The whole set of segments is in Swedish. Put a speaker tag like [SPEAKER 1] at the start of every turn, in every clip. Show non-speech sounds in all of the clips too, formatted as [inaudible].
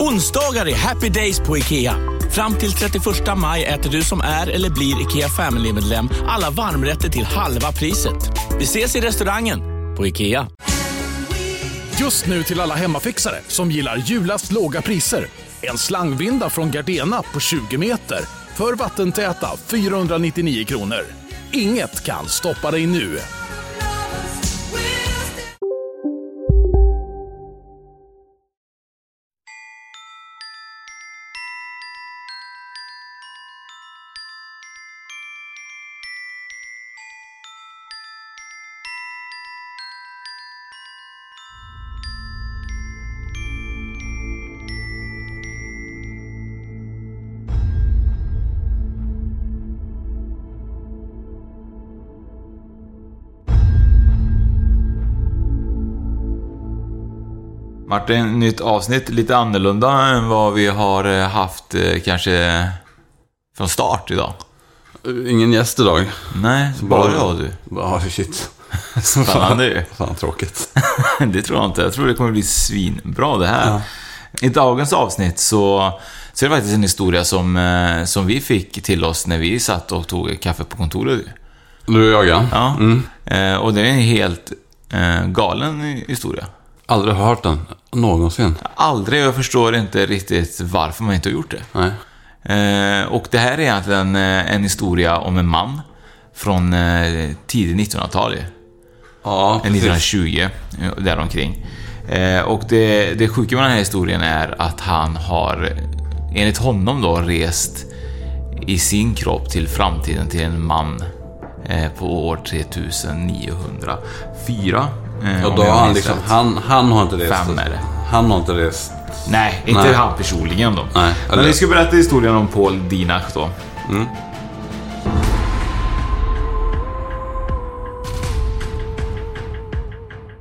[SPEAKER 1] Onsdagar är happy days på IKEA. Fram till 31 maj äter du som är eller blir IKEA Family-medlem alla varmrätter till halva priset. Vi ses i restaurangen på IKEA.
[SPEAKER 2] Just nu till alla hemmafixare som gillar julast låga priser. En slangvinda från Gardena på 20 meter för vattentäta 499 kronor. Inget kan stoppa dig nu.
[SPEAKER 3] Martin, nytt avsnitt. Lite annorlunda än vad vi har eh, haft eh, kanske från start idag.
[SPEAKER 4] Ingen gäst idag.
[SPEAKER 3] Nej, bara jag och du.
[SPEAKER 4] Ja, shit.
[SPEAKER 3] Spännande ju. [laughs]
[SPEAKER 4] Fan tråkigt.
[SPEAKER 3] Det tror jag inte. Jag tror det kommer bli svinbra det här. I dagens avsnitt så, så är det faktiskt en historia som, eh, som vi fick till oss när vi satt och tog kaffe på kontoret. ju.
[SPEAKER 4] Du och jag ja.
[SPEAKER 3] Ja. Eh, Och det är en helt eh, galen historia.
[SPEAKER 4] Aldrig hört den. Någonsin.
[SPEAKER 3] Aldrig, jag förstår inte riktigt varför man inte har gjort det.
[SPEAKER 4] Nej.
[SPEAKER 3] Eh, och det här är egentligen eh, en historia om en man från eh, tidigt 1900-tal. ju.
[SPEAKER 4] Ja,
[SPEAKER 3] En 1920, eh, däromkring. Eh, och det, det sjuka med den här historien är att han har, enligt honom då, rest i sin kropp till framtiden till en man eh, på år 3904. eh,
[SPEAKER 4] Och
[SPEAKER 3] om
[SPEAKER 4] då
[SPEAKER 3] jag
[SPEAKER 4] har han
[SPEAKER 3] minns
[SPEAKER 4] liksom,
[SPEAKER 3] rätt.
[SPEAKER 4] han, han har inte rest.
[SPEAKER 3] Fem är det.
[SPEAKER 4] Han har inte rest.
[SPEAKER 3] Nej, inte
[SPEAKER 4] Nej.
[SPEAKER 3] han personligen då.
[SPEAKER 4] Nej,
[SPEAKER 3] Men
[SPEAKER 4] eller- Mm.
[SPEAKER 3] vi ska berätta historien om Paul Dinach då.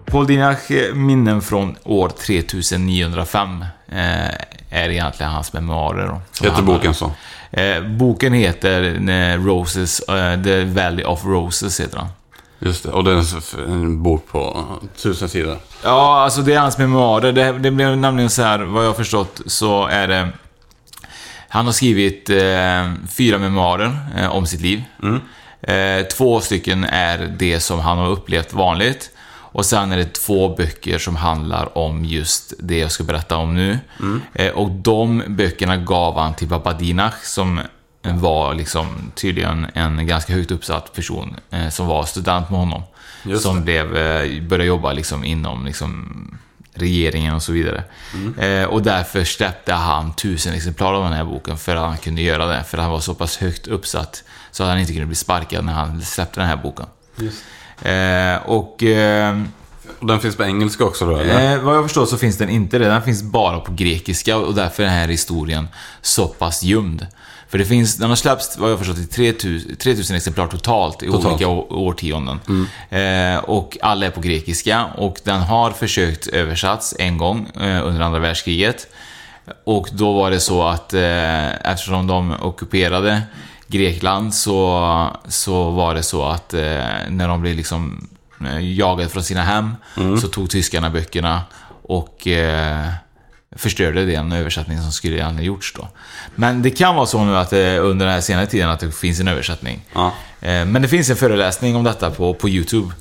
[SPEAKER 3] Paul Dinach eh, minnen från år 3905 eh, är egentligen hans memoarer. Då, som
[SPEAKER 4] Heter
[SPEAKER 3] handlar-
[SPEAKER 4] boken så?
[SPEAKER 3] Eh, boken heter eh, Roses, eh, The Valley of Roses heter den.
[SPEAKER 4] Just det. Och den är en bok på tusen sidor.
[SPEAKER 3] Ja, alltså det är hans memoarer. Det, det blev nämligen så här, vad jag har förstått, så är det... Han har skrivit eh, fyra memoarer eh, om sitt liv. Eh, två stycken är det som han har upplevt vanligt. Och sen är det två böcker som handlar om just det jag ska berätta om nu. Eh, och de böckerna gav han till Babadinach som var liksom tydligen en ganska högt uppsatt person eh, som var student med honom. som blev, eh, började jobba liksom inom liksom, regeringen och så vidare. Eh, och därför släppte han tusen exemplar av den här boken för att han kunde göra det. För han var så pass högt uppsatt så att han inte kunde bli sparkad när han släppte den här boken. Eh, och eh,
[SPEAKER 4] Och den finns på engelska också då, eller?
[SPEAKER 3] eh, vad jag förstår så finns den inte det. Den finns bara på grekiska och därför är den här historien så pass gömd. För det finns, den har släppts, vad jag har förstått, i 3000, 3000 exemplar totalt i
[SPEAKER 4] Totalt.
[SPEAKER 3] olika å- årtionden. Eh, och alla är på grekiska och den har försökt översatts en gång eh, under andra världskriget. Och då var det så att eh, eftersom de ockuperade Grekland så, så var det så att eh, när de blev liksom eh, jagade från sina hem så tog tyskarna böckerna och eh, förstörde den översättning som skulle ha gjorts då. Men det kan vara så nu att eh, under den här senare tiden att det finns en översättning.
[SPEAKER 4] Ja.
[SPEAKER 3] Eh, Men det finns en föreläsning om detta på, på YouTube.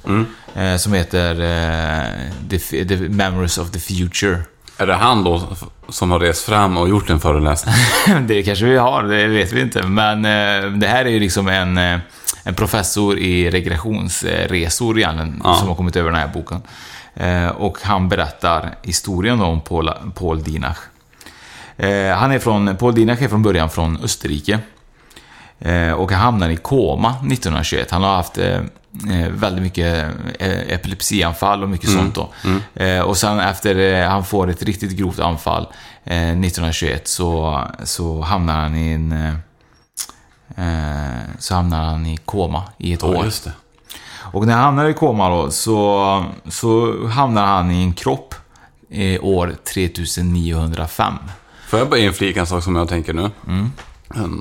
[SPEAKER 3] eh, Som heter eh, the, F- the Memories of the Future. [clears throat]
[SPEAKER 4] Är det han då som har rest fram och gjort
[SPEAKER 3] [laughs]
[SPEAKER 4] en föreläsning?
[SPEAKER 3] Det kanske vi har, det vet vi inte. Men eh, det här är ju liksom en, eh, en professor i regressionsresor egentligen, som har kommit över den här boken. Eh, och han berättar historien om Paul, Paul Dinach. Eh, han är från, Paul Dinach är från början från Österrike. Eh, och han hamnade i koma 1921. Han har haft eh, eh, väldigt mycket eh, epilepsianfall och
[SPEAKER 4] Mm.
[SPEAKER 3] mycket sånt då. Eh, och sen efter eh, han får ett riktigt grovt anfall eh, 1921 så, så hamnar han i en... Eh, eh, så hamnar han i koma i ett
[SPEAKER 4] Ja,
[SPEAKER 3] år.
[SPEAKER 4] just det.
[SPEAKER 3] Och när han hamnar i koma då, så, så hamnar han i en kropp eh, år 3905.
[SPEAKER 4] Får jag bara inflika en sak som jag tänker nu? Mm.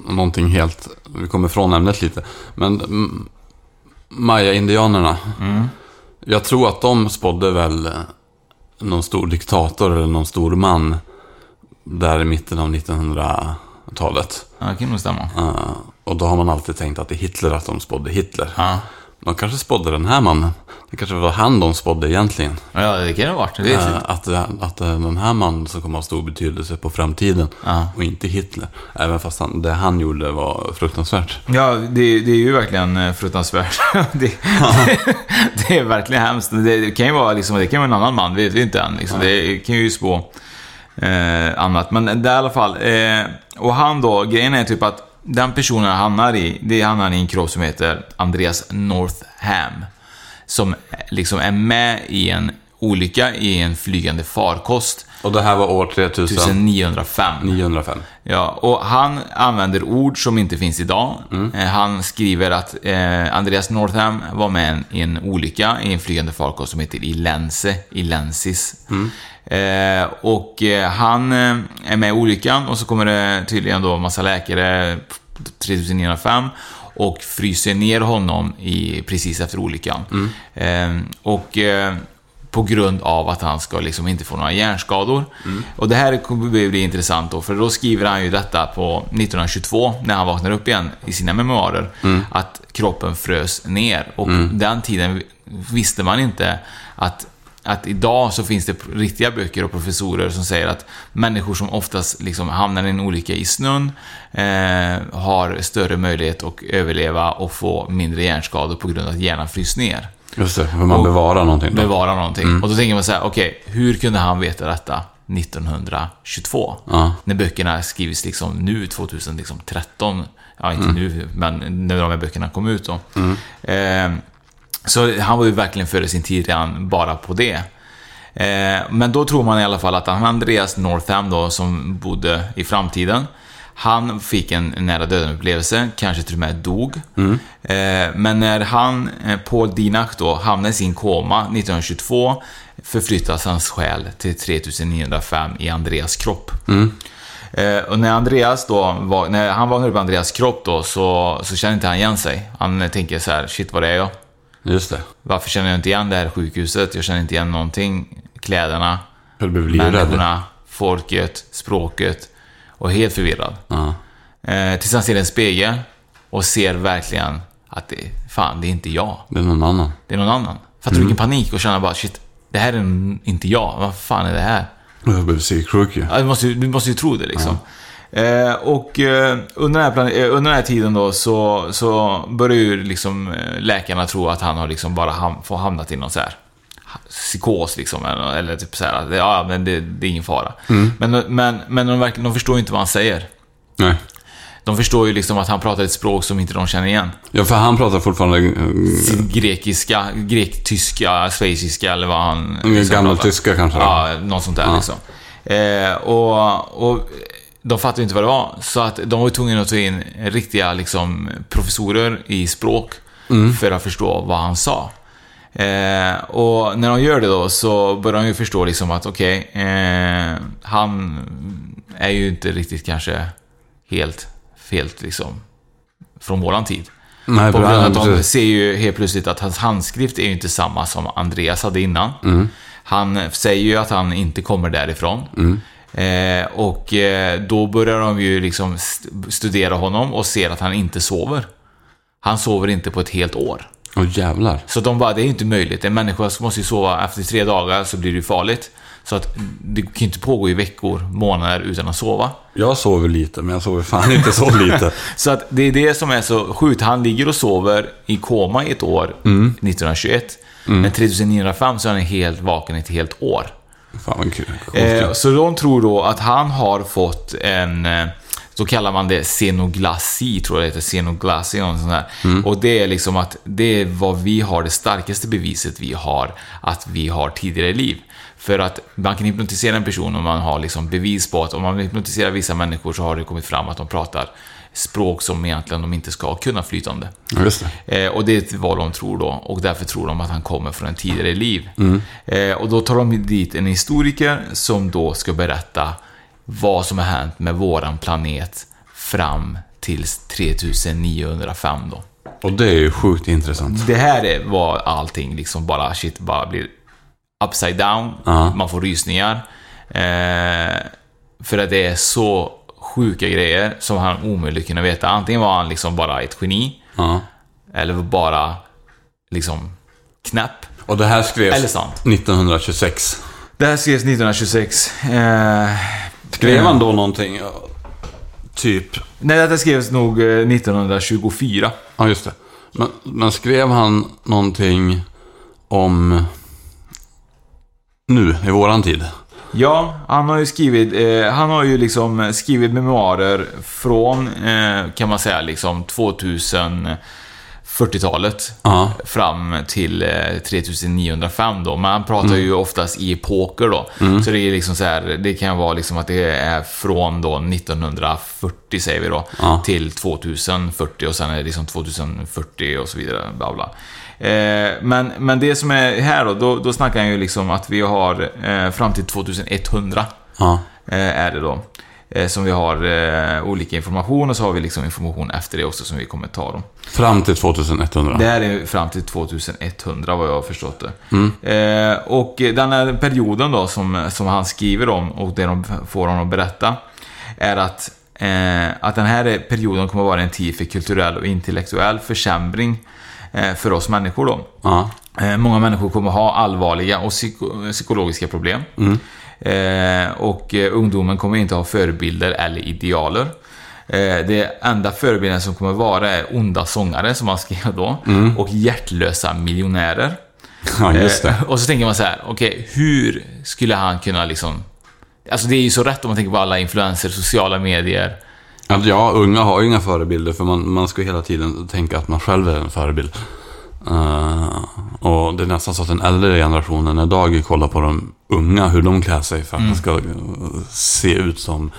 [SPEAKER 4] Någonting helt... Vi kommer från ämnet lite. Men mm, Maya-indianerna. Jag tror att de spådde väl eh, någon stor diktator eller någon stor man. Där i mitten av 1900-talet.
[SPEAKER 3] Ja, det kan nog stämma.
[SPEAKER 4] Eh, och då har man alltid tänkt att det är Hitler, att de spådde Hitler. De kanske spådde den här mannen. Det kanske var han de spådde egentligen.
[SPEAKER 3] Ja, det kan det ha varit. Det är
[SPEAKER 4] Eh, att, att eh, den här mannen som kommer ha stor betydelse på framtiden och inte Hitler. Även fast han, det han gjorde var fruktansvärt.
[SPEAKER 3] Ja, det, det är ju verkligen eh, fruktansvärt. [laughs] det, det är verkligen hemskt. Det, det kan ju vara liksom, det kan vara en annan man, det vet vi inte än. Liksom. Det kan ju spå eh, annat. Men det är i alla fall. Eh, och han då, grejen är typ att den personen han hamnar i, det är hamnar i en kropp som heter Andreas Northam. Som liksom är med i en olycka i en flygande farkost
[SPEAKER 4] Och det här var år 3905.
[SPEAKER 3] 1905. Ja, och han använder ord som inte finns idag. Eh, Han skriver att eh, Andreas Northam var med en, i en olycka i en flygande farkost som heter Ilense, Ilensis. Eh, och eh, han eh, är med i olyckan och så kommer det tydligen då massa läkare 3905 och fryser ner honom i, precis efter olyckan. Eh, och eh, på grund av att han ska liksom inte få några hjärnskador. Och det här kommer bli bli intressant då, för då skriver han ju detta på 1922, när han vaknar upp igen i sina memoarer, att kroppen frös ner. Och den tiden visste man inte att att idag så finns det riktiga böcker och professorer som säger att människor som oftast liksom hamnar i en olycka i snön eh, har större möjlighet att överleva och få mindre hjärnskador på grund av att hjärnan fryser ner
[SPEAKER 4] Just det, för man bevarar någonting. Då. Mm.
[SPEAKER 3] bevara någonting. Och då tänker man så här, okej, hur kunde han veta detta 1922?
[SPEAKER 4] Ja.
[SPEAKER 3] När böckerna skrivs liksom nu, 2013. Ja, inte
[SPEAKER 4] Mm.
[SPEAKER 3] nu, men när de här böckerna kom ut då. Eh, så han var ju verkligen före sin tid redan bara på det. Eh, men då tror man i alla fall att han Andreas Northam då, som bodde i framtiden, han fick en nära döden-upplevelse, kanske till och med dog. Eh, men när han, eh, Paul Dinach då, hamnade i sin koma 1922, förflyttas hans själ till 3905 i Andreas kropp. Eh, och när Andreas då, var, när han vaknade upp i Andreas kropp då, så, så känner inte han igen sig. Han eh, tänker så här, shit vad det är jag?
[SPEAKER 4] Just det.
[SPEAKER 3] Varför känner jag inte igen det här sjukhuset? Jag känner inte igen någonting. Kläderna,
[SPEAKER 4] Jag blev livrädd.
[SPEAKER 3] människorna, folket, språket. Och helt förvirrad.
[SPEAKER 4] Ja.
[SPEAKER 3] Eh, tills han ser en spegel och ser verkligen att det, fan, det är inte jag.
[SPEAKER 4] Det är någon annan.
[SPEAKER 3] Det är någon annan. Fattar du vilken panik och känna bara shit, det här är n- inte jag. Vad fan är det här?
[SPEAKER 4] Jag blev psyksjuk ju.
[SPEAKER 3] Ja, du, måste, ju- du måste ju tro det liksom. Eh, och eh, under, den här plan- eh, under den här tiden då så, så börjar ju liksom eh, läkarna tro att han har liksom bara ham- får hamnat i någon så här ha- psykos liksom, eller, eller typ så här, att, ja men det, det är ingen fara. Men, men, men de, verkligen, de förstår ju inte vad han säger.
[SPEAKER 4] Nej.
[SPEAKER 3] De förstår ju liksom att han pratar ett språk som inte de känner igen.
[SPEAKER 4] Ja, för han pratar fortfarande eh,
[SPEAKER 3] Sitt grekiska, grektyska, schweiziska eller vad han... liksom pratar.
[SPEAKER 4] gammaltyska kanske.
[SPEAKER 3] Ja, något sånt där liksom. Eh, och, och de fattade ju inte vad det var, så att de var ju tvungna att ta in riktiga liksom, professorer i språk för att förstå vad han sa. Eh, och när de gör det då så börjar de ju förstå liksom att okej, eh, han är ju inte riktigt kanske helt, helt liksom från våran tid.
[SPEAKER 4] Nej,
[SPEAKER 3] På
[SPEAKER 4] för
[SPEAKER 3] grund av
[SPEAKER 4] han,
[SPEAKER 3] att de
[SPEAKER 4] precis.
[SPEAKER 3] ser ju helt plötsligt att hans handskrift är ju inte samma som Andreas hade innan.
[SPEAKER 4] Mm.
[SPEAKER 3] Han säger ju att han inte kommer därifrån.
[SPEAKER 4] Mm.
[SPEAKER 3] Eh, och eh, då börjar de ju liksom st- studera honom och ser att han inte sover. Han sover inte på ett helt år.
[SPEAKER 4] Åh jävlar.
[SPEAKER 3] Så de bara, det är ju inte möjligt. En människa måste ju sova efter tre dagar så blir det ju farligt. Så att det kan ju inte pågå i veckor, månader utan att sova.
[SPEAKER 4] Jag sover lite, men jag sover fan inte så [laughs] lite.
[SPEAKER 3] Så att det är det som är så sjukt. Han ligger och sover i koma i ett år, 1921. Men 3905 så är han helt vaken i ett helt år.
[SPEAKER 4] Fan vad kul.
[SPEAKER 3] Eh, så de tror då att han har fått en... eh, Så kallar man det scenoglassi, tror jag det heter. Scenoglassi och sånt där. Och det är liksom att det är vad vi har, det starkaste beviset vi har, att vi har tidigare liv. För att man kan hypnotisera en person om man har liksom bevis på att om man hypnotiserar vissa människor så har det kommit fram att de pratar språk som egentligen de inte ska kunna flytande.
[SPEAKER 4] Ja, just det.
[SPEAKER 3] Eh, och det är ett- vad de tror då. Och därför tror de att han kommer från ett tidigare liv. Eh, och då tar de dit en historiker som då ska berätta vad som har hänt med våran planet fram till 3905 då.
[SPEAKER 4] Och det är ju sjukt intressant.
[SPEAKER 3] Det här är- var allting liksom bara, shit, bara blir upside down.
[SPEAKER 4] Ja.
[SPEAKER 3] Man får rysningar. Eh, för att det är så sjuka grejer som han omöjligt kunde veta. Antingen var han liksom bara ett geni.
[SPEAKER 4] Ja.
[SPEAKER 3] Eller bara liksom knäpp.
[SPEAKER 4] Och det här
[SPEAKER 3] Eller
[SPEAKER 4] skrevs
[SPEAKER 3] sant.
[SPEAKER 4] 1926.
[SPEAKER 3] Det här skrevs 1926. Eh,
[SPEAKER 4] Skrev han då någonting? ja, Eh, Typ...
[SPEAKER 3] nej, det här skrevs nog eh, 1924.
[SPEAKER 4] Ja, just det. Men, men skrev han någonting om... Nu, i våran tid?
[SPEAKER 3] Ja, han har ju skrivit, eh, han har ju liksom skrivit memoarer från, eh, kan man säga, liksom 2040-talet.
[SPEAKER 4] Ja.
[SPEAKER 3] Fram till eh, 3905 då. Men han pratar
[SPEAKER 4] Mm.
[SPEAKER 3] ju oftast i epoker då. Så det är liksom så här, det kan vara liksom att det är från då 1940 säger vi då.
[SPEAKER 4] Ja.
[SPEAKER 3] Till 2040 och sen är det liksom 2040 och så vidare. Bla bla. Eh, men, men det som är här då, då, då snackar han ju liksom att vi har eh, fram till 2100.
[SPEAKER 4] Ja.
[SPEAKER 3] Eh, är det då. Eh, som vi har eh, olika information och så har vi liksom information efter det också som vi kommer ta dem.
[SPEAKER 4] Fram till 2100.
[SPEAKER 3] Det här är fram till 2100 vad jag har förstått det. Eh, och den här perioden då som, som han skriver om och det de får honom att berätta är att, eh, att den här perioden kommer vara en tid för kulturell och intellektuell försämring eh, för oss människor då.
[SPEAKER 4] Ja.
[SPEAKER 3] Eh, Många människor kommer ha allvarliga och psyko- psykologiska problem. Eh, och eh, ungdomen kommer inte ha förebilder eller idealer. Eh, det enda förebilden som kommer vara är onda sångare, som han skrev då, och hjärtlösa miljonärer.
[SPEAKER 4] ja, just det.
[SPEAKER 3] Eh, Och så tänker man så här, okej, hur skulle han kunna liksom... Alltså det är ju så rätt om man tänker på alla influenser, sociala medier.
[SPEAKER 4] Att ja, unga har ju inga förebilder för man, man ska ju hela tiden tänka att man själv är en förebild. Eh, och det är nästan så att den äldre generationen idag kollar på de unga, hur de klär sig för att man ska eh, se ut som...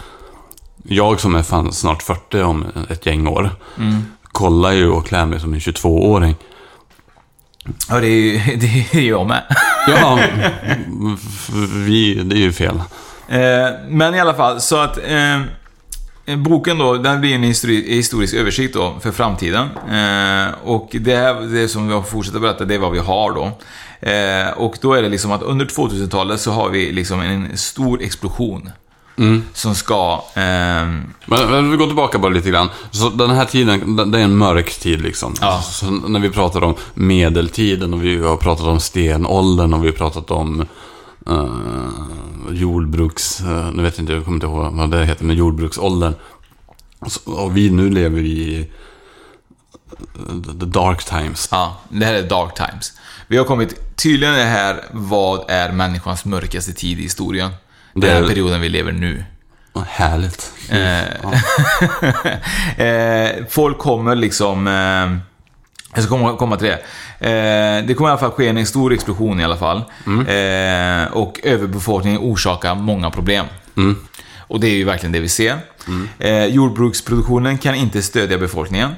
[SPEAKER 4] Jag som är fan snart 40 om ett gäng år, kollar ju och klär mig som en 22-åring.
[SPEAKER 3] Ja, det är ju, [laughs] det är ju jag med.
[SPEAKER 4] Ja, f- vi, det är ju fel.
[SPEAKER 3] Eh, men i alla fall, så att eh, boken då, den blir en histori- historisk översikt då för framtiden. Eh, och det, här, det som jag fortsätter berätta, det är vad vi har då. Eh, och då är det liksom att under 2000-talet så har vi liksom en stor explosion. Som ska... ehm,
[SPEAKER 4] Men, men vi går tillbaka bara lite grann. Så den här tiden, den- det är en mörk tid liksom.
[SPEAKER 3] Ja.
[SPEAKER 4] Så när vi pratar om medeltiden och vi har pratat om stenåldern och vi har pratat om eh, jordbruks... eh, nu vet jag inte, jag kommer inte ihåg vad det heter, men jordbruksåldern. Och, så, och vi, nu lever vi i eh, the dark times.
[SPEAKER 3] Ja, det här är Dark Times. Vi har kommit tydligen det här, vad är människans mörkaste tid i historien? Den här
[SPEAKER 4] Det-
[SPEAKER 3] perioden vi lever nu.
[SPEAKER 4] Vad härligt.
[SPEAKER 3] eh, folk kommer liksom... Eh, jag ska komma, komma till det. Eh, det kommer i alla fall ske en stor explosion i alla fall. Eh, och överbefolkningen orsakar många problem. Och det är ju verkligen det vi ser. Eh, jordbruksproduktionen kan inte stödja befolkningen.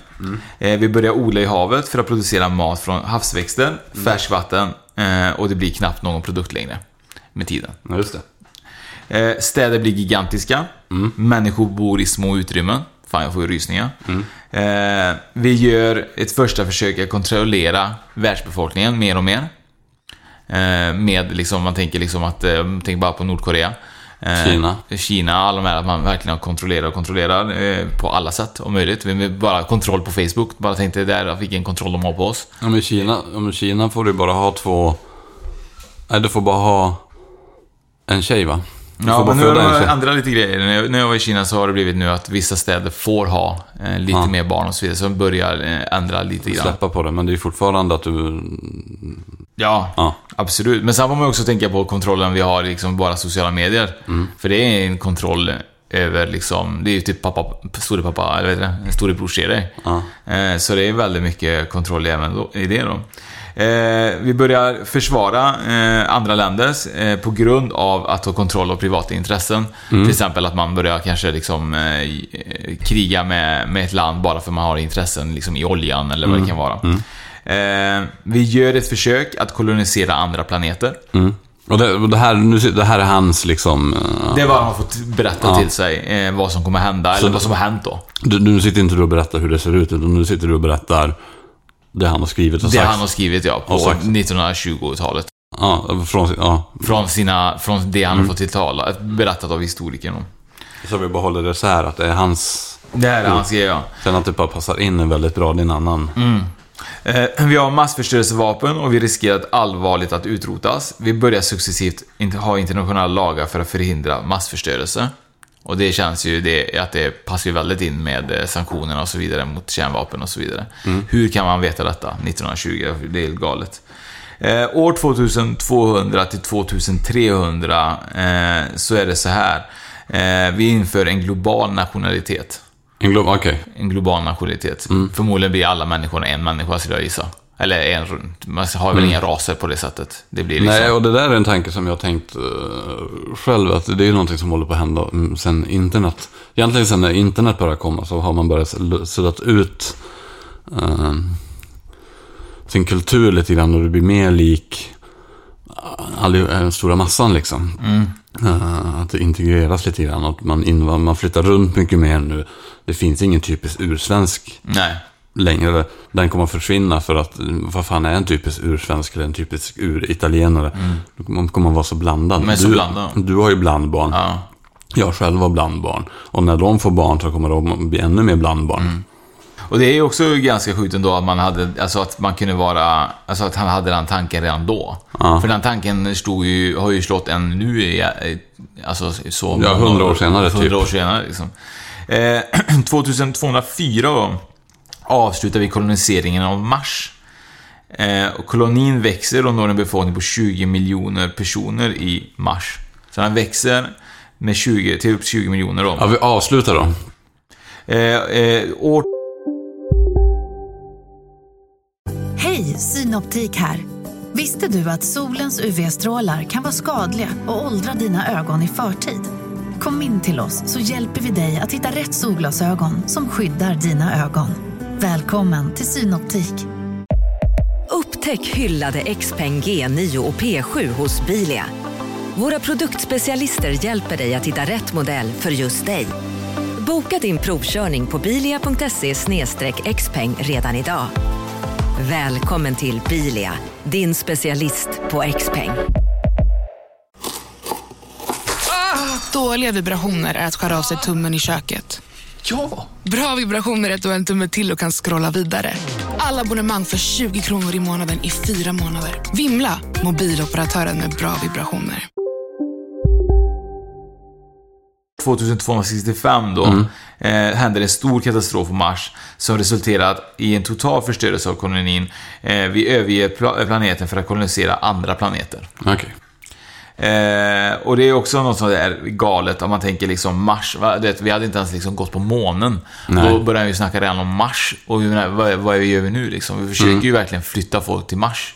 [SPEAKER 3] Eh, vi börjar odla i havet för att producera mat från havsväxter, färskvatten eh, och det blir knappt någon produkt längre med tiden.
[SPEAKER 4] Ja, just det.
[SPEAKER 3] Eh, städer blir gigantiska. Människor bor i små utrymmen. Fan, jag får ju rysningar. Eh, vi gör ett första försök att kontrollera världsbefolkningen mer och mer. Eh, med liksom, man tänker liksom att, eh, tänk bara på Nordkorea. Eh,
[SPEAKER 4] Kina.
[SPEAKER 3] Kina, alla de här, att man verkligen kontrollerar och kontrollerar eh, på alla sätt om möjligt. Vi- vi- Bara kontroll på Facebook, bara tänkte där, vilken kontroll de har på oss.
[SPEAKER 4] Ja, men Kina, ja, men Kina får du bara ha två... Nej, du får bara ha en tjej va? Du får
[SPEAKER 3] Ja,
[SPEAKER 4] bara
[SPEAKER 3] men nu har
[SPEAKER 4] föda en
[SPEAKER 3] de
[SPEAKER 4] tjej.
[SPEAKER 3] ändrat lite grejer. När jag, när jag var i Kina så har det blivit nu att vissa städer får ha eh, lite mer barn och så vidare. Så de börjar eh, ändra lite grann.
[SPEAKER 4] släppa på det, men det är fortfarande att du...
[SPEAKER 3] Ja,
[SPEAKER 4] Ja. Mm.
[SPEAKER 3] absolut. Men sen får man ju också tänka på kontrollen vi har liksom bara sociala medier. För det är en kontroll över liksom, det är ju typ pappa, storepappa, eller vad heter det? Storebror ser dig. Eh, Så det är väldigt mycket kontroll även då- i det då. Eh, Vi börjar försvara eh, andra länders eh, på grund av att ha kontroll av privata intressen. Till exempel att man börjar kanske liksom eh, eh, kriga med, med ett land bara för man har intressen liksom i oljan eller vad det kan vara. Eh, Vi gör ett försök att kolonisera andra planeter.
[SPEAKER 4] Och det, och det, här, nu, det här är hans liksom... eh,
[SPEAKER 3] Det är vad han har fått berätta
[SPEAKER 4] Ja.
[SPEAKER 3] till sig, eh, vad som kommer hända, eller vad som har hänt då.
[SPEAKER 4] Du, nu sitter inte du och berättar hur det ser ut, utan nu sitter du och berättar det han har skrivit och
[SPEAKER 3] Det
[SPEAKER 4] sagt.
[SPEAKER 3] han har skrivit, ja, på
[SPEAKER 4] Och sagt.
[SPEAKER 3] 1920-talet.
[SPEAKER 4] Ja, från, sin- ja.
[SPEAKER 3] Från, sina, från det han har fått tilltala, berättat av historikern. om.
[SPEAKER 4] Så vi behåller det så här, att det är hans...
[SPEAKER 3] Det här är han skrev, ja.
[SPEAKER 4] Sen att det bara passar in väldigt bra i en annan.
[SPEAKER 3] Mm. Eh, Vi har massförstörelsevapen och vi riskerar att allvarligt att utrotas. Vi börjar successivt inte- ha internationella lagar för att förhindra massförstörelse. Och det känns ju det, att det passar ju väldigt in med eh, sanktionerna och så vidare mot kärnvapen och så vidare. Hur kan man veta detta 1920? Det är helt galet. Eh, år 2200 till 2300 eh, så är det så här. Eh, vi inför en global nationalitet
[SPEAKER 4] En glob... Okej.
[SPEAKER 3] en global nationalitet.
[SPEAKER 4] Mm.
[SPEAKER 3] Förmodligen blir alla människor en människa skulle jag gissa. Eller en, runt. man har väl inga raser på det sättet. Det blir liksom...
[SPEAKER 4] Mm. Nej, och det där är en tanke som jag har tänkt eh, själv, att det är ju någonting som håller på att hända mm, sen internet. Egentligen sen när internet började komma så har man börjat l- suddat ut eh, sin kultur lite grann och det blir mer lik eh, all, den stora massan liksom.
[SPEAKER 3] Mm.
[SPEAKER 4] Eh, att det integreras lite grann och att man, inv- man flyttar runt mycket mer nu. Det finns ingen typisk ursvensk
[SPEAKER 3] Nej.
[SPEAKER 4] längre. Den kommer att försvinna för att mm, vad fan är en typisk ursvensk eller en typisk uritalienare? Man kommer att vara så blandad.
[SPEAKER 3] Men så
[SPEAKER 4] du,
[SPEAKER 3] blandad.
[SPEAKER 4] du har ju blandbarn.
[SPEAKER 3] Ja.
[SPEAKER 4] Jag själv har blandbarn. Och när de får barn så kommer de att bli ännu mer blandbarn.
[SPEAKER 3] Och det är ju också ganska sjukt ändå att man hade, alltså att man kunde vara, alltså att han hade den tanken redan då. För den tanken stod ju, har ju slått en nu i, i- alltså så...
[SPEAKER 4] Ja, 100 år senare, typ.
[SPEAKER 3] 100 år senare liksom. Eh, [clears throat] 2204 då, avslutar vi koloniseringen av Mars. Eh, och kolonin växer och når en befolkning på 20 miljoner personer i Mars. Så den växer med 20, till upp 20 miljoner då.
[SPEAKER 4] Ja, vi avslutar då.
[SPEAKER 3] Eh, eh, år
[SPEAKER 5] Hej, Synoptik här. Visste du att solens UV-strålar kan vara skadliga och åldra dina ögon i förtid? Kom in till oss så hjälper vi dig att hitta rätt solglasögon som skyddar dina ögon. Välkommen till Synoptik.
[SPEAKER 6] Upptäck hyllade XPeng G9 och P7 hos Bilia. Våra produktspecialister hjälper dig att hitta rätt modell för just dig. Boka din provkörning på bilia.se xpeng redan idag. Välkommen till Bilia, din specialist på XPeng.
[SPEAKER 7] Ah! Dåliga vibrationer är att skära av sig tummen i köket.
[SPEAKER 3] Ja!
[SPEAKER 7] Bra vibrationer är att du har en tumme till och kan scrolla vidare. Alla abonnemang för 20 kronor i månaden i fyra månader. Vimla! Mobiloperatören med bra vibrationer.
[SPEAKER 3] 2265 då, eh, händer en stor katastrof på Mars som resulterat i en total förstörelse av kolonin. Eh, vi överger pla- planeten för att kolonisera andra planeter.
[SPEAKER 4] Okej.
[SPEAKER 3] Eh, och det är också något som är galet om man tänker liksom Mars. Va? Du vet, vi hade inte ens liksom gått på månen. Då började vi snacka redan om Mars. Och vi menar, vad, vad gör vi nu liksom? Vi försöker ju verkligen flytta folk till Mars.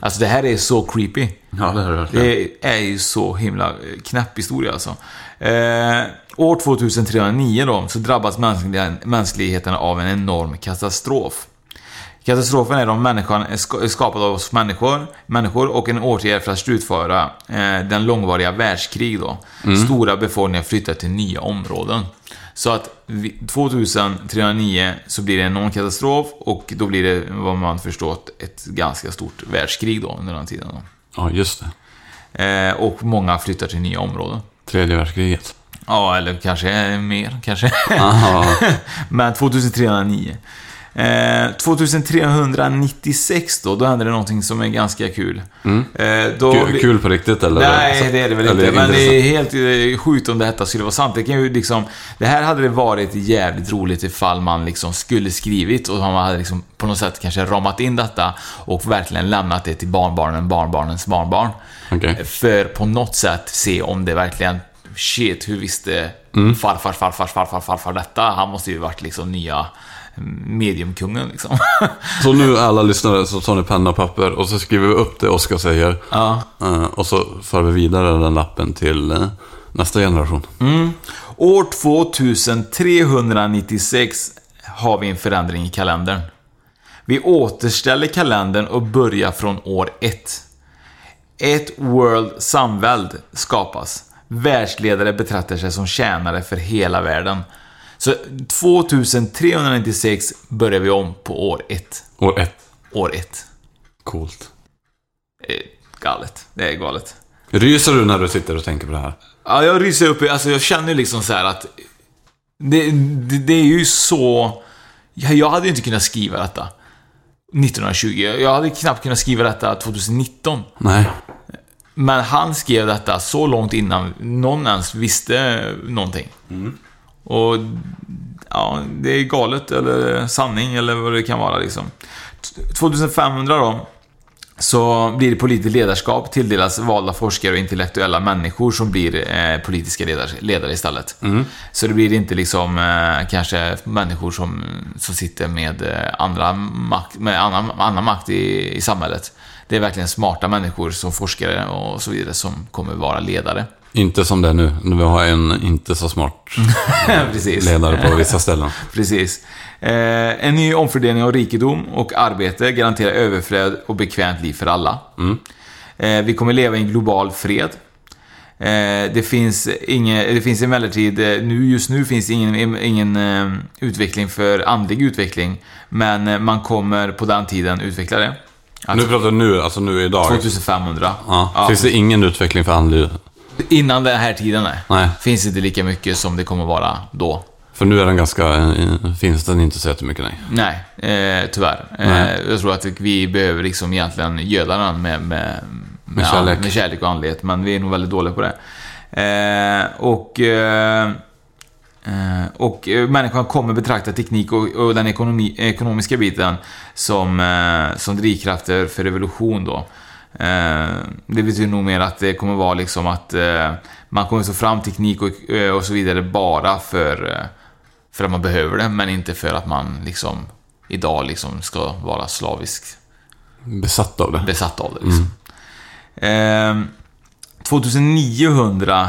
[SPEAKER 3] Alltså det här är så creepy.
[SPEAKER 4] Ja, det har du verkligen.
[SPEAKER 3] Det är ju så himla eh, knäpp historia alltså. Eh, år 2309 då, så drabbas mänskligheten- mänskligheten av en enorm katastrof. Katastrofen är om människan är ska- är skapad av oss människor, människor och en åtgärd för att slutföra eh, den långvariga världskrig då.
[SPEAKER 4] Mm.
[SPEAKER 3] Stora befolkningar flyttar till nya områden. Så att vi- 2309 så blir det en enorm katastrof och då blir det, vad man förstått, ett ganska stort världskrig då under den tiden. Då.
[SPEAKER 4] Ja, just det.
[SPEAKER 3] Eh, och många flyttar till nya områden.
[SPEAKER 4] Tredje världskriget.
[SPEAKER 3] Ja, eller kanske eh, mer, kanske.
[SPEAKER 4] Aha.
[SPEAKER 3] [laughs] Men 2309. Eh, 2396 då, då händer det någonting som är ganska kul. Eh, då
[SPEAKER 4] Mm. Kul, kul på riktigt eller?
[SPEAKER 3] Nej, det är det väl
[SPEAKER 4] Eller
[SPEAKER 3] inte. Men det är
[SPEAKER 4] intressant.
[SPEAKER 3] helt eh, sjukt om detta skulle vara sant. Det, kan ju liksom, det här hade det varit jävligt roligt ifall man liksom skulle skrivit och man hade liksom på något sätt kanske ramat in detta och verkligen lämnat det till barnbarnen, barnbarnens barnbarn.
[SPEAKER 4] Okej.
[SPEAKER 3] För på något sätt se om det verkligen shit, hur visste farfar, farfar, farfar, farfar detta? Han måste ju varit liksom nya mediumkungen liksom. [laughs]
[SPEAKER 4] Så nu alla lyssnare så tar ni penna och papper och så skriver vi upp det Oskar säger. Eh, Och så för vi vidare den lappen till eh, nästa generation.
[SPEAKER 3] År 2396 har vi en förändring i kalendern. Vi återställer kalendern och börjar från år 1. Ett World Samvälde skapas. Världsledare betraktar sig som tjänare för hela världen. Så 2396 börjar vi om på år 1.
[SPEAKER 4] År ett.
[SPEAKER 3] År 1.
[SPEAKER 4] Coolt.
[SPEAKER 3] Galet. Det är galet.
[SPEAKER 4] Ryser du när du sitter och tänker på det här?
[SPEAKER 3] Ja, jag ryser upp. i- Alltså, jag känner ju liksom så här att... Det, det, det är ju så... Jag, jag hade ju inte kunnat skriva detta 1920. Jag jag hade knappt kunnat skriva detta 2019.
[SPEAKER 4] Nej.
[SPEAKER 3] Men han skrev detta så långt innan någon ens visste någonting. Och... Ja, det är galet eller sanning eller vad det kan vara liksom. T- 2500 då så blir det politiskt ledarskap tilldelas valda forskare och intellektuella människor som blir eh, politiska ledare, ledare istället.
[SPEAKER 4] Mm.
[SPEAKER 3] Så det blir inte liksom eh, kanske människor som, som sitter med, eh, andra makt, med annan, annan makt i, i samhället. Det är verkligen smarta människor som forskare och så vidare som kommer vara ledare.
[SPEAKER 4] Inte som det är nu, när vi har en inte så smart
[SPEAKER 3] [laughs] Precis.
[SPEAKER 4] ledare på
[SPEAKER 3] [laughs]
[SPEAKER 4] vissa ställen.
[SPEAKER 3] Precis. Eh, en ny omfördelning av rikedom och arbete garanterar överflöd och bekvämt liv för alla.
[SPEAKER 4] Mm.
[SPEAKER 3] Eh, vi kommer leva i en global fred. Eh, det, finns ingen, det finns emellertid, eh, nu, just nu finns ingen, ingen eh, utveckling för andlig utveckling. Men eh, man kommer på den tiden utveckla det. Att
[SPEAKER 4] Nu pratar du nu, alltså nu idag.
[SPEAKER 3] 2500.
[SPEAKER 4] Ja.
[SPEAKER 3] Ja.
[SPEAKER 4] Finns det ingen utveckling för andlig?
[SPEAKER 3] Innan den här tiden nej.
[SPEAKER 4] Nej.
[SPEAKER 3] finns inte lika mycket som det kommer vara då.
[SPEAKER 4] För nu är den ganska, eh, finns den inte så jättemycket nej.
[SPEAKER 3] Nej, eh, tyvärr.
[SPEAKER 4] Nej.
[SPEAKER 3] Eh, jag tror att vi behöver liksom egentligen göda den med, med, med,
[SPEAKER 4] kärlek.
[SPEAKER 3] med kärlek och andlighet, men vi är nog väldigt dåliga på det. Eh, och, eh, eh, och eh, människan kommer betrakta teknik och, och den ekonomi, ekonomiska biten som, eh, som drivkrafter för revolution då. Eh, det betyder nog mer att det kommer vara liksom att eh, man kommer så fram teknik och, eh, och så vidare bara för eh, för att man behöver det, men inte för att man liksom idag liksom ska vara slavisk
[SPEAKER 4] Besatt av det.
[SPEAKER 3] besatt av det. Liksom. Ehm, 2900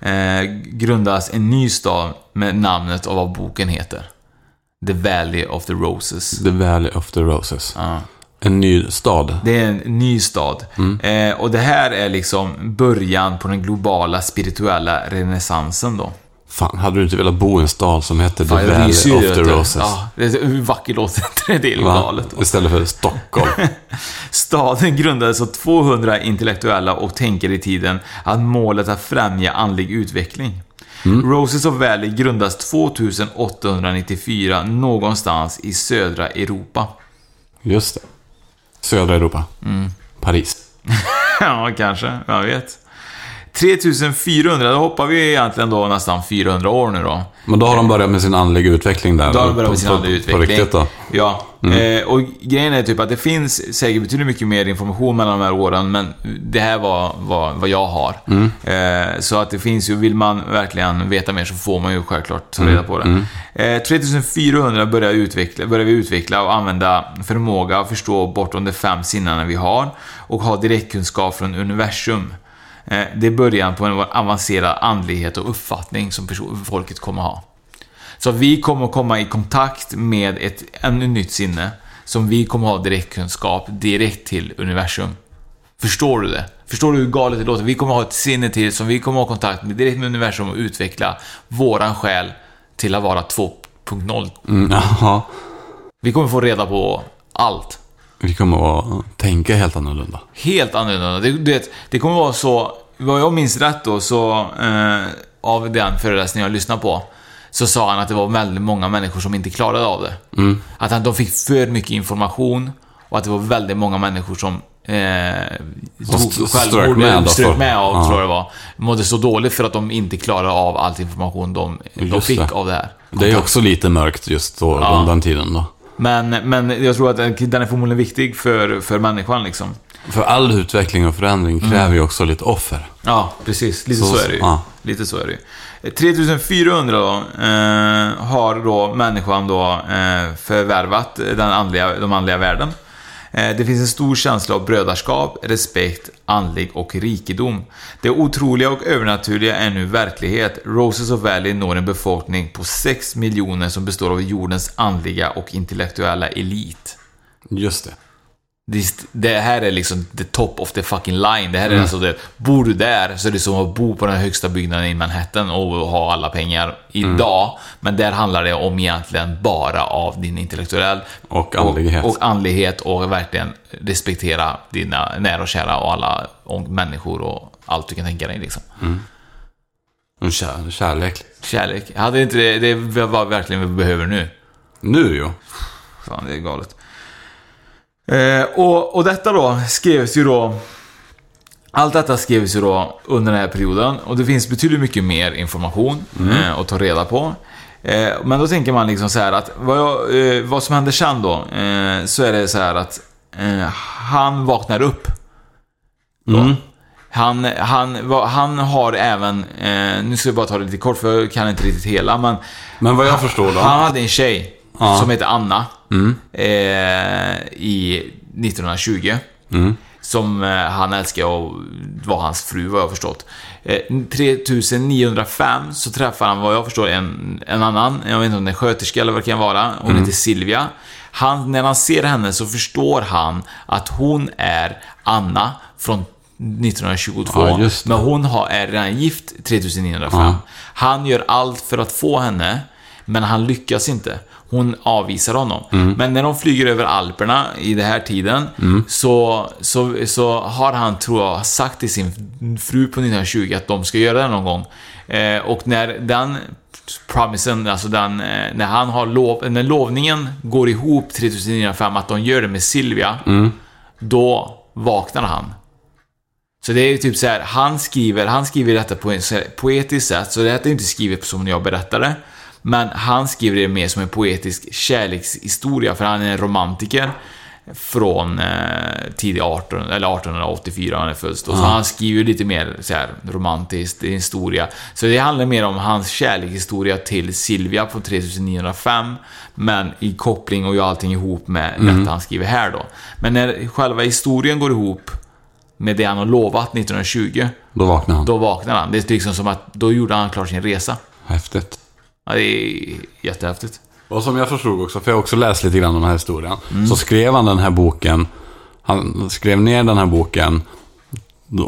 [SPEAKER 3] eh, grundas en ny stad med namnet av vad boken heter. The Valley of the Roses.
[SPEAKER 4] The Valley of the Roses.
[SPEAKER 3] Ja.
[SPEAKER 4] En ny stad.
[SPEAKER 3] Det är en ny stad.
[SPEAKER 4] Mm.
[SPEAKER 3] Eh, och det här är liksom början på den globala spirituella renässansen då.
[SPEAKER 4] Fan, hade du inte velat bo i en stad som hette The
[SPEAKER 3] Fan, jag
[SPEAKER 4] Valley
[SPEAKER 3] ryser ju,
[SPEAKER 4] of
[SPEAKER 3] vet
[SPEAKER 4] the
[SPEAKER 3] du.
[SPEAKER 4] Roses?
[SPEAKER 3] Ja, det är, hur vackert låter inte [laughs] det? Det är
[SPEAKER 4] Va?
[SPEAKER 3] galet. alltså.
[SPEAKER 4] Istället för Stockholm.
[SPEAKER 3] [laughs] Staden grundades av 200 intellektuella och tänkare i tiden att målet att främja andlig utveckling. Roses of Valley grundas 2894 någonstans i södra Europa. [laughs]
[SPEAKER 4] Just det. Södra Europa.
[SPEAKER 3] Mm.
[SPEAKER 4] Paris.
[SPEAKER 3] ja, kanske. Jag vet. 3400, då hoppar vi egentligen då nästan 400 år nu då.
[SPEAKER 4] Men då har de börjat med sin andliga utveckling där.
[SPEAKER 3] Då har de börjat
[SPEAKER 4] På-
[SPEAKER 3] med sin
[SPEAKER 4] på-
[SPEAKER 3] andliga
[SPEAKER 4] På
[SPEAKER 3] utveckling.
[SPEAKER 4] riktigt då. Mm.
[SPEAKER 3] Ja. Eh, och grejen är typ att det finns säkert betydligt mycket mer information mellan de här åren, men det här var, var vad jag har.
[SPEAKER 4] Mm.
[SPEAKER 3] Eh, så att det finns ju, vill man verkligen veta mer så får man ju självklart ta
[SPEAKER 4] Mm.
[SPEAKER 3] reda på det. Eh, 3400 börjar, utveckla, börjar vi utveckla och använda förmåga att förstå bortom de fem sinnena vi har och ha direktkunskap från universum. Eh, Det är början på en avancerad andlighet och uppfattning som perso- folket kommer ha. Så vi kommer att komma i kontakt med ett ännu nytt sinne som vi kommer att ha direktkunskap direkt till universum. Förstår du det? Förstår du hur galet det låter? Vi kommer att ha ett sinne till som vi kommer att ha kontakt med direkt med universum och utveckla våran själ till att vara 2.0.
[SPEAKER 4] Mm, jaha.
[SPEAKER 3] Vi kommer få reda på allt.
[SPEAKER 4] Vi kommer att tänka helt annorlunda.
[SPEAKER 3] Helt annorlunda. Det, du vet, det kommer vara så, vad jag minns rätt då, så eh, av den föreläsningen jag lyssnade på, så sa han att det var väldigt många människor som inte klarade av det.
[SPEAKER 4] Mm.
[SPEAKER 3] Att han, de fick för mycket information och att det var väldigt många människor som eh,
[SPEAKER 4] st-
[SPEAKER 3] tog
[SPEAKER 4] strök
[SPEAKER 3] självmord,
[SPEAKER 4] med då,
[SPEAKER 3] eh, strök
[SPEAKER 4] för-
[SPEAKER 3] med av,
[SPEAKER 4] ja.
[SPEAKER 3] tror jag det var. Mådde så dåligt för att de inte klarade av all information de, de
[SPEAKER 4] Just
[SPEAKER 3] fick
[SPEAKER 4] det.
[SPEAKER 3] av det här.
[SPEAKER 4] Det är också lite mörkt just då, runt den tiden då.
[SPEAKER 3] Men, men jag tror att den den är förmodligen viktig för, för människan liksom.
[SPEAKER 4] För all utveckling och förändring
[SPEAKER 3] Mm.
[SPEAKER 4] kräver ju också lite offer.
[SPEAKER 3] Ja, precis. Lite så,
[SPEAKER 4] Så-
[SPEAKER 3] är det ju.
[SPEAKER 4] ja.
[SPEAKER 3] Lite så är det ju. Eh, 3400 då, eh, har då människan då eh, förvärvat den andliga, de andliga värden. Eh, det finns en stor känsla av brödarskap, respekt, andlig och rikedom. Det otroliga och övernaturliga är nu verklighet. Roses of Valley når en befolkning på 6 miljoner som består av jordens andliga och intellektuella elit.
[SPEAKER 4] Just det.
[SPEAKER 3] Det- Det här är liksom the top of the fucking line. Det här är
[SPEAKER 4] Mm.
[SPEAKER 3] alltså det. Bor du där så är det som att bo på den högsta byggnaden i Manhattan och ha alla pengar
[SPEAKER 4] Mm.
[SPEAKER 3] idag. Men där handlar det om egentligen bara av din intellektuell
[SPEAKER 4] Och andlighet.
[SPEAKER 3] Och, och andlighet och verkligen respektera dina nära och kära och alla och människor och allt du kan tänka dig liksom.
[SPEAKER 4] Mm. En kär, kärlek.
[SPEAKER 3] Kärlek. Jag hade inte det, det var verkligen vi behöver nu.
[SPEAKER 4] Nu ju.
[SPEAKER 3] Fan, det är galet. Eh, och, och detta då skrevs ju då... Allt detta skrevs ju då under den här perioden och det finns betydligt mycket mer information
[SPEAKER 4] Mm.
[SPEAKER 3] eh, att ta reda på. Eh, men då tänker man liksom så här att vad, jag, eh, vad som händer sen då, eh, så är det så här att eh, han vaknar upp. Då.
[SPEAKER 4] Mm.
[SPEAKER 3] Han, han, va- han har även, eh, nu ska jag bara ta det lite kort för jag kan inte riktigt hela, men
[SPEAKER 4] Men vad jag förstår då. Mm.
[SPEAKER 3] han hade en tjej som hette Anna eh, i 1920. Som eh, han älskade och var hans fru vad jag har förstått. Eh, 3905 så träffar han vad jag förstår en, en annan, jag vet inte om det är sköterska eller vad det kan vara. Hon
[SPEAKER 4] Mm.
[SPEAKER 3] heter Silvia. Han, när han ser henne så förstår han att hon är Anna från 1922.
[SPEAKER 4] Ja, just det.
[SPEAKER 3] men hon har, är redan gift 3905. Han gör allt för att få henne, men han lyckas inte. Hon avvisar honom. Men när de flyger över Alperna i den här tiden, så, så, så har han, tror jag, sagt till sin fru på 1920 att de ska göra det någon gång. Eh, och när den promisen, alltså den, eh, när han har lov, när lovningen går ihop 3905, att de gör det med Silvia, då vaknar han. Så det är ju typ så här, han skriver, han skriver detta på ett så här poetiskt sätt, så det här är inte skrivet som jag berättade. Men han skriver det mer som en poetisk kärlekshistoria, för han är en romantiker från eh, tidig 18, eller 1884, han är född då. Så han skriver lite mer så här romantiskt, det är en historia. Så det handlar mer om hans kärlekshistoria till Silvia på 3905, men i koppling och gör allting ihop med detta han skriver här då. Men när själva historien går ihop med det han har lovat 1920,
[SPEAKER 4] Då vaknar han.
[SPEAKER 3] då vaknar han. Det är liksom som att då gjorde han klart sin resa.
[SPEAKER 4] Häftigt.
[SPEAKER 3] Ja, det är jättehäftigt.
[SPEAKER 4] Och som jag förstod också, för jag har också läst lite grann om den här historien.
[SPEAKER 3] Mm.
[SPEAKER 4] Så skrev han den här boken. Han skrev ner den här boken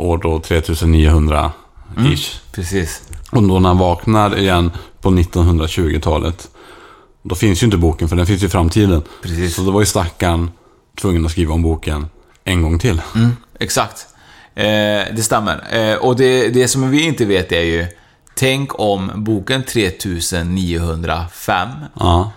[SPEAKER 4] år då 3900
[SPEAKER 3] Mm.
[SPEAKER 4] ish.
[SPEAKER 3] Precis.
[SPEAKER 4] Och då när han vaknar igen på 1920-talet. Då finns ju inte boken, för den finns ju i framtiden.
[SPEAKER 3] Precis.
[SPEAKER 4] Så då var ju stackaren tvungen att skriva om boken en gång till.
[SPEAKER 3] Exakt. Eh, det stämmer. Eh, och det, det som vi inte vet är ju, tänk om boken 3905
[SPEAKER 4] Ja.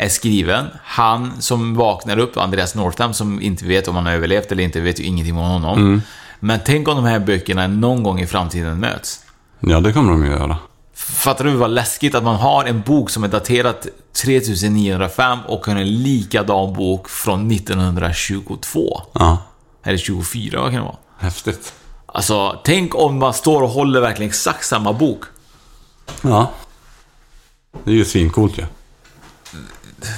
[SPEAKER 3] är skriven. Han som vaknar upp, Andreas Northam, som inte vet om han har överlevt eller inte, vet ju ingenting om honom. Men tänk om de här böckerna någon gång i framtiden möts.
[SPEAKER 4] ja, det kommer de ju göra.
[SPEAKER 3] Fattar du vad läskigt att man har en bok som är daterad 3905 och har en likadan bok från 1922?
[SPEAKER 4] Ja,
[SPEAKER 3] Eller 24, vad kan det vara?
[SPEAKER 4] häftigt.
[SPEAKER 3] Alltså, tänk om man står och håller verkligen exakt samma bok.
[SPEAKER 4] Ja. Det är ju svincoolt ju. Ja.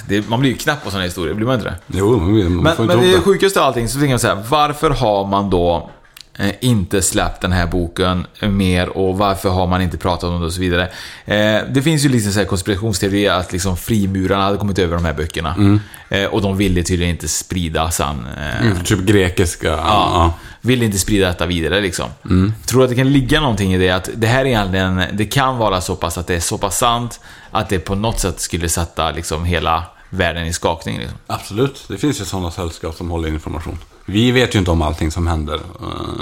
[SPEAKER 3] Det, man blir ju knäpp på sådana historier, blir man inte det?
[SPEAKER 4] Jo, men man får
[SPEAKER 3] Men,
[SPEAKER 4] inte
[SPEAKER 3] men
[SPEAKER 4] ihop
[SPEAKER 3] det sjukaste av allting, så tänker jag så här, varför har man då eh, inte släppt den här boken mer och varför har man inte pratat om det och så vidare. Eh, det finns ju liksom så här konspirationsteorier att liksom frimurarna hade kommit över de här böckerna. Eh, och de ville tydligen inte sprida sen. Eh,
[SPEAKER 4] Mm, Typ grekiska.
[SPEAKER 3] ja,
[SPEAKER 4] Ja.
[SPEAKER 3] Vill inte sprida detta vidare liksom.
[SPEAKER 4] Mm.
[SPEAKER 3] Tror du att det kan ligga någonting i det? Att det här är egentligen, det kan vara så pass att det är så pass sant att det på något sätt skulle sätta liksom hela världen i skakning. Liksom.
[SPEAKER 4] Absolut, det finns ju sådana sällskap som håller information. Vi vet ju inte om allting som händer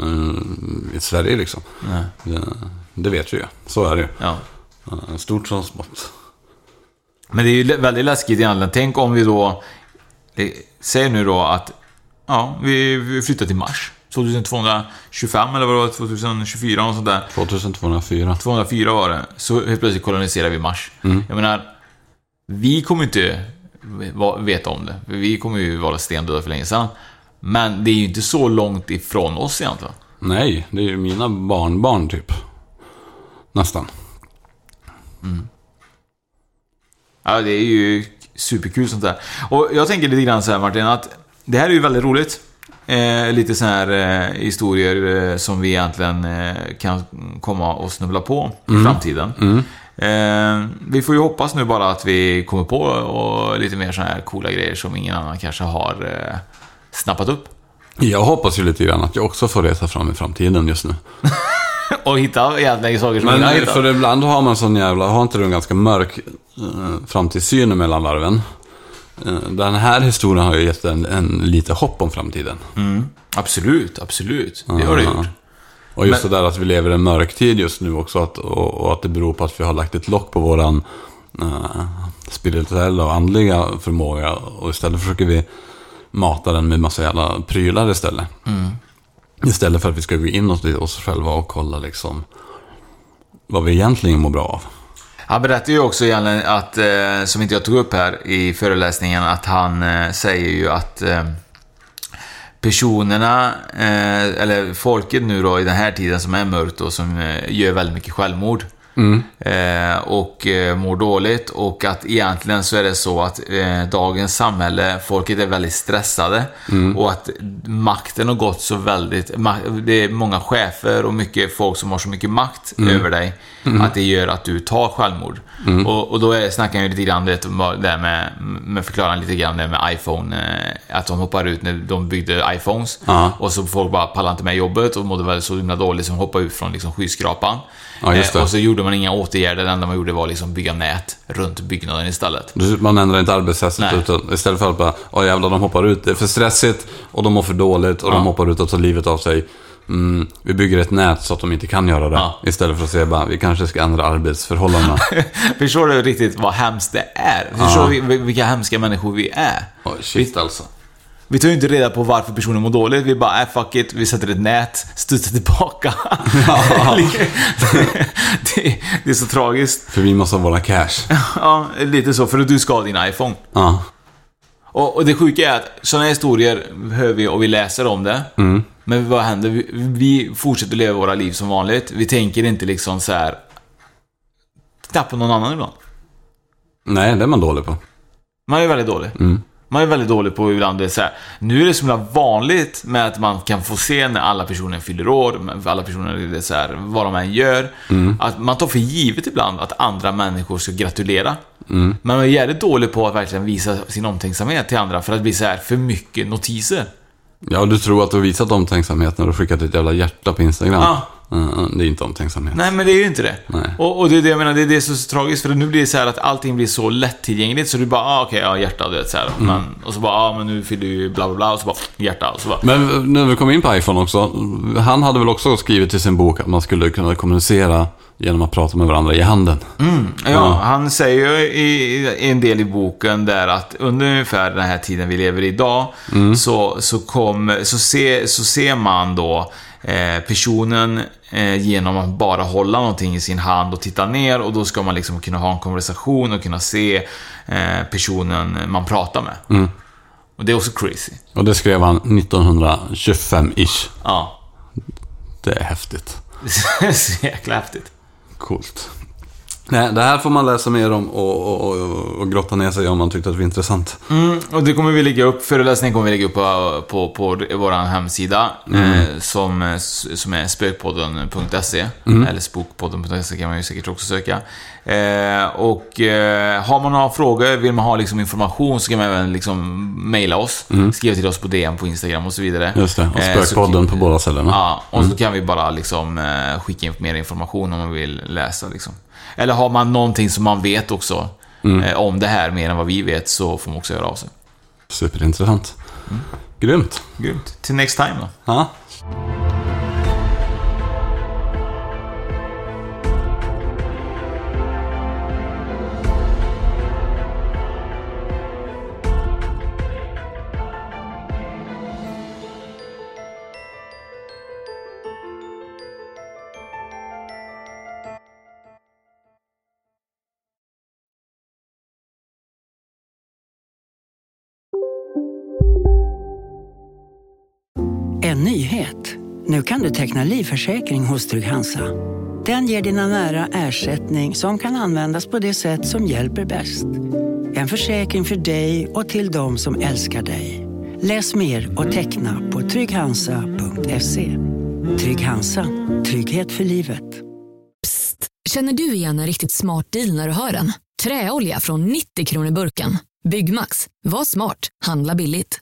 [SPEAKER 4] eh, i Sverige liksom. Det, det vet vi ju. Så är det ju.
[SPEAKER 3] Ja.
[SPEAKER 4] Eh, Stort som smått.
[SPEAKER 3] Men det är ju lä- väldigt läskigt egentligen. Tänk om vi då... eh, Säg nu då att... Ja, vi vi flyttar till Mars. 2225 eller vad det var, 2024 och sånt där.
[SPEAKER 4] 2204.
[SPEAKER 3] 204 var det. Så helt plötsligt koloniserar vi Mars. Jag menar, vi kommer inte va- veta om det. Vi kommer ju vara stendöda för länge sedan. Men det är ju inte så långt ifrån oss egentligen.
[SPEAKER 4] Nej, det är ju mina barnbarn typ. Nästan.
[SPEAKER 3] Ja, det är ju superkul sånt där. Och jag tänker lite grann så här Martin, att det här är ju väldigt roligt. Eh, lite så här eh, historier eh, som vi egentligen eh, kan komma och snubbla på i
[SPEAKER 4] Mm.
[SPEAKER 3] framtiden. Eh, vi får ju hoppas nu bara att vi kommer på och lite mer så här coola grejer som ingen annan kanske har eh, snappat upp. [laughs]
[SPEAKER 4] Jag hoppas ju lite grann att jag också får resa fram i framtiden just nu.
[SPEAKER 3] Och hitta egentligen saker som
[SPEAKER 4] Men
[SPEAKER 3] ingen har
[SPEAKER 4] nej,
[SPEAKER 3] hittat.
[SPEAKER 4] för ibland har man sån jävla, har inte du en ganska mörk eh, framtidssyn mellan varven? Eh, Den här historien har ju gett en, en lite hopp om framtiden.
[SPEAKER 3] Absolut, absolut. Det har det gjort.
[SPEAKER 4] Och just det där att vi lever i en mörk tid just nu också att, och, och att det beror på att vi har lagt ett lock på våran eh, spirituella och andliga förmåga och istället försöker vi mata den med massa jävla prylar istället.
[SPEAKER 3] Mm.
[SPEAKER 4] Istället för att vi ska gå inåt i oss själva och kolla liksom vad vi egentligen mår bra av.
[SPEAKER 3] Han berättar ju också egentligen att, eh, som inte jag tog upp här i föreläsningen, att han eh, säger ju att eh, personerna, eh, eller folket nu då i den här tiden som är mörkt och som eh, gör väldigt mycket självmord. Eh, och eh, mår dåligt och att egentligen så är det så att eh, dagens samhälle, folket är väldigt stressade. Och att makten har gått så väldigt, ma- det är många chefer och mycket folk som har så mycket makt
[SPEAKER 4] Mm.
[SPEAKER 3] över dig. Att det gör att du tar självmord. Och, och då är, snackar jag ju lite grann vet, om vad det här med, med förklarar lite grann det här med iPhone. eh, Att de hoppar ut när de byggde iPhones.
[SPEAKER 4] Ja.
[SPEAKER 3] Och så folk bara pallar inte med jobbet och mådde väl så himla dåligt som hoppade ut från liksom skyskrapan.
[SPEAKER 4] Ja, just det.
[SPEAKER 3] Eh, Och så gjorde man inga åtgärder, det enda man gjorde var liksom bygga nät runt byggnaden
[SPEAKER 4] [laughs]
[SPEAKER 3] istället.
[SPEAKER 4] Du- Man ändrar inte arbetssättet
[SPEAKER 3] Nej.
[SPEAKER 4] utan istället för att bara, åh jävlar de hoppar ut, det är för stressigt och de mår för dåligt och de hoppar ut och tar livet av sig. Mm, vi bygger ett nät så att de inte kan göra det.
[SPEAKER 3] Ja.
[SPEAKER 4] Istället för att säga bara, vi kanske ska
[SPEAKER 3] [laughs]
[SPEAKER 4] ändra arbetsförhållandena.
[SPEAKER 3] Förstår du riktigt vad hemskt det är? Förstår du vi- vilka hemska människor vi är?
[SPEAKER 4] Oj, shit alltså.
[SPEAKER 3] Vi tar ju inte reda på varför personen mår dåligt, vi bara äh, fuck it, vi sätter ett nät, studsar tillbaka. [laughs] det, det är så tragiskt.
[SPEAKER 4] För vi måste ha
[SPEAKER 3] [laughs]
[SPEAKER 4] våra cash.
[SPEAKER 3] Ja, lite så, för att du ska ha din iPhone.
[SPEAKER 4] Ja.
[SPEAKER 3] Och, och det sjuka är att sådana historier hör vi och vi läser om det. Men vad händer? Vi, vi fortsätter leva våra liv som vanligt. Vi tänker inte liksom så här. Knappt på någon annan ibland.
[SPEAKER 4] Nej, det är man dålig på.
[SPEAKER 3] Man är väldigt dålig. Man är väldigt dålig på ibland det är så här. Nu är det så himla vanligt med att man kan få se när alla personer fyller år, men alla personer, det är så här, vad de än gör. Att man tar för givet ibland att andra människor ska gratulera. Men man är jävligt dålig på att verkligen visa sin omtänksamhet till andra för att bli så här för mycket notiser.
[SPEAKER 4] Ja, och du tror att du har visat omtänksamhet när du har skickat ett jävla hjärta på Instagram.
[SPEAKER 3] Ja.
[SPEAKER 4] Mm, det är inte omtänksamhet.
[SPEAKER 3] Nej, men det är ju inte det.
[SPEAKER 4] Nej.
[SPEAKER 3] Och, och det är det jag menar, det är det som är så tragiskt. För nu blir det så här att allting blir så lättillgängligt. Så du bara, ah, okej, ja, hjärta, du vet så här. Men, och så bara, ah, men nu fyller ju bla, bla, bla. Och så bara, hjärta. Och så bara,
[SPEAKER 4] Men när vi kom in på iPhone också. Han hade väl också skrivit i sin bok att man skulle kunna kommunicera genom att prata med varandra i handen.
[SPEAKER 3] Ja, han säger ju i, i en del i boken där att under ungefär den här tiden vi lever i idag så, så, kom, så, se, så ser man då eh, personen eh, genom att bara hålla någonting i sin hand och titta ner och då ska man liksom kunna ha en konversation och kunna se eh, personen man pratar med. Och det är också crazy.
[SPEAKER 4] Och det skrev han 1925-ish.
[SPEAKER 3] Ja. [laughs]
[SPEAKER 4] Det är häftigt.
[SPEAKER 3] Det är så jäkla häftigt.
[SPEAKER 4] Coolt. Nej, det här får man läsa mer om och, och, och, och grotta ner sig om man tyckte att det var intressant.
[SPEAKER 3] Mm, Och det kommer vi lägga upp, föreläsningen kommer vi lägga upp på, på, på vår hemsida
[SPEAKER 4] Mm.
[SPEAKER 3] eh, som, som är spökpodden.se
[SPEAKER 4] Mm.
[SPEAKER 3] eller spokpodden.se kan man ju säkert också söka. Eh, och eh, har man några frågor, vill man ha liksom information så kan man även liksom mejla oss, skriva till oss på DM på Instagram och så vidare.
[SPEAKER 4] Mm. Just det, och
[SPEAKER 3] Eh, så-
[SPEAKER 4] spökpodden på båda ställena.
[SPEAKER 3] Ja, och så kan vi bara liksom eh, skicka in mer information om man vill läsa liksom. Eller har man någonting som man vet också eh, om det här mer än vad vi vet så får man också höra av sig.
[SPEAKER 4] Superintressant. Grymt.
[SPEAKER 3] Grymt. Till next time då.
[SPEAKER 4] Ja.
[SPEAKER 8] En nyhet. Nu kan du teckna livförsäkring hos Trygg-Hansa. Den ger dina nära ersättning som kan användas på det sätt som hjälper bäst. En försäkring för dig och till de som älskar dig. Läs mer och teckna på trygghansa.se. Trygg Hansa. Trygghet för livet.
[SPEAKER 9] Psst! Känner du igen en riktigt smart deal när du hör den? Träolja från 90 kronor burken. Byggmax. Var smart. Handla billigt.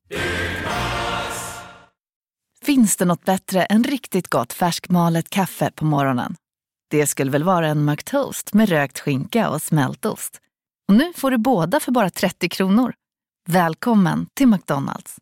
[SPEAKER 10] Finns det något bättre än riktigt gott färskmalet kaffe på morgonen? Det skulle väl vara en McToast med rökt skinka och smältost? Och nu får du båda för bara 30 kronor. Välkommen till McDonalds!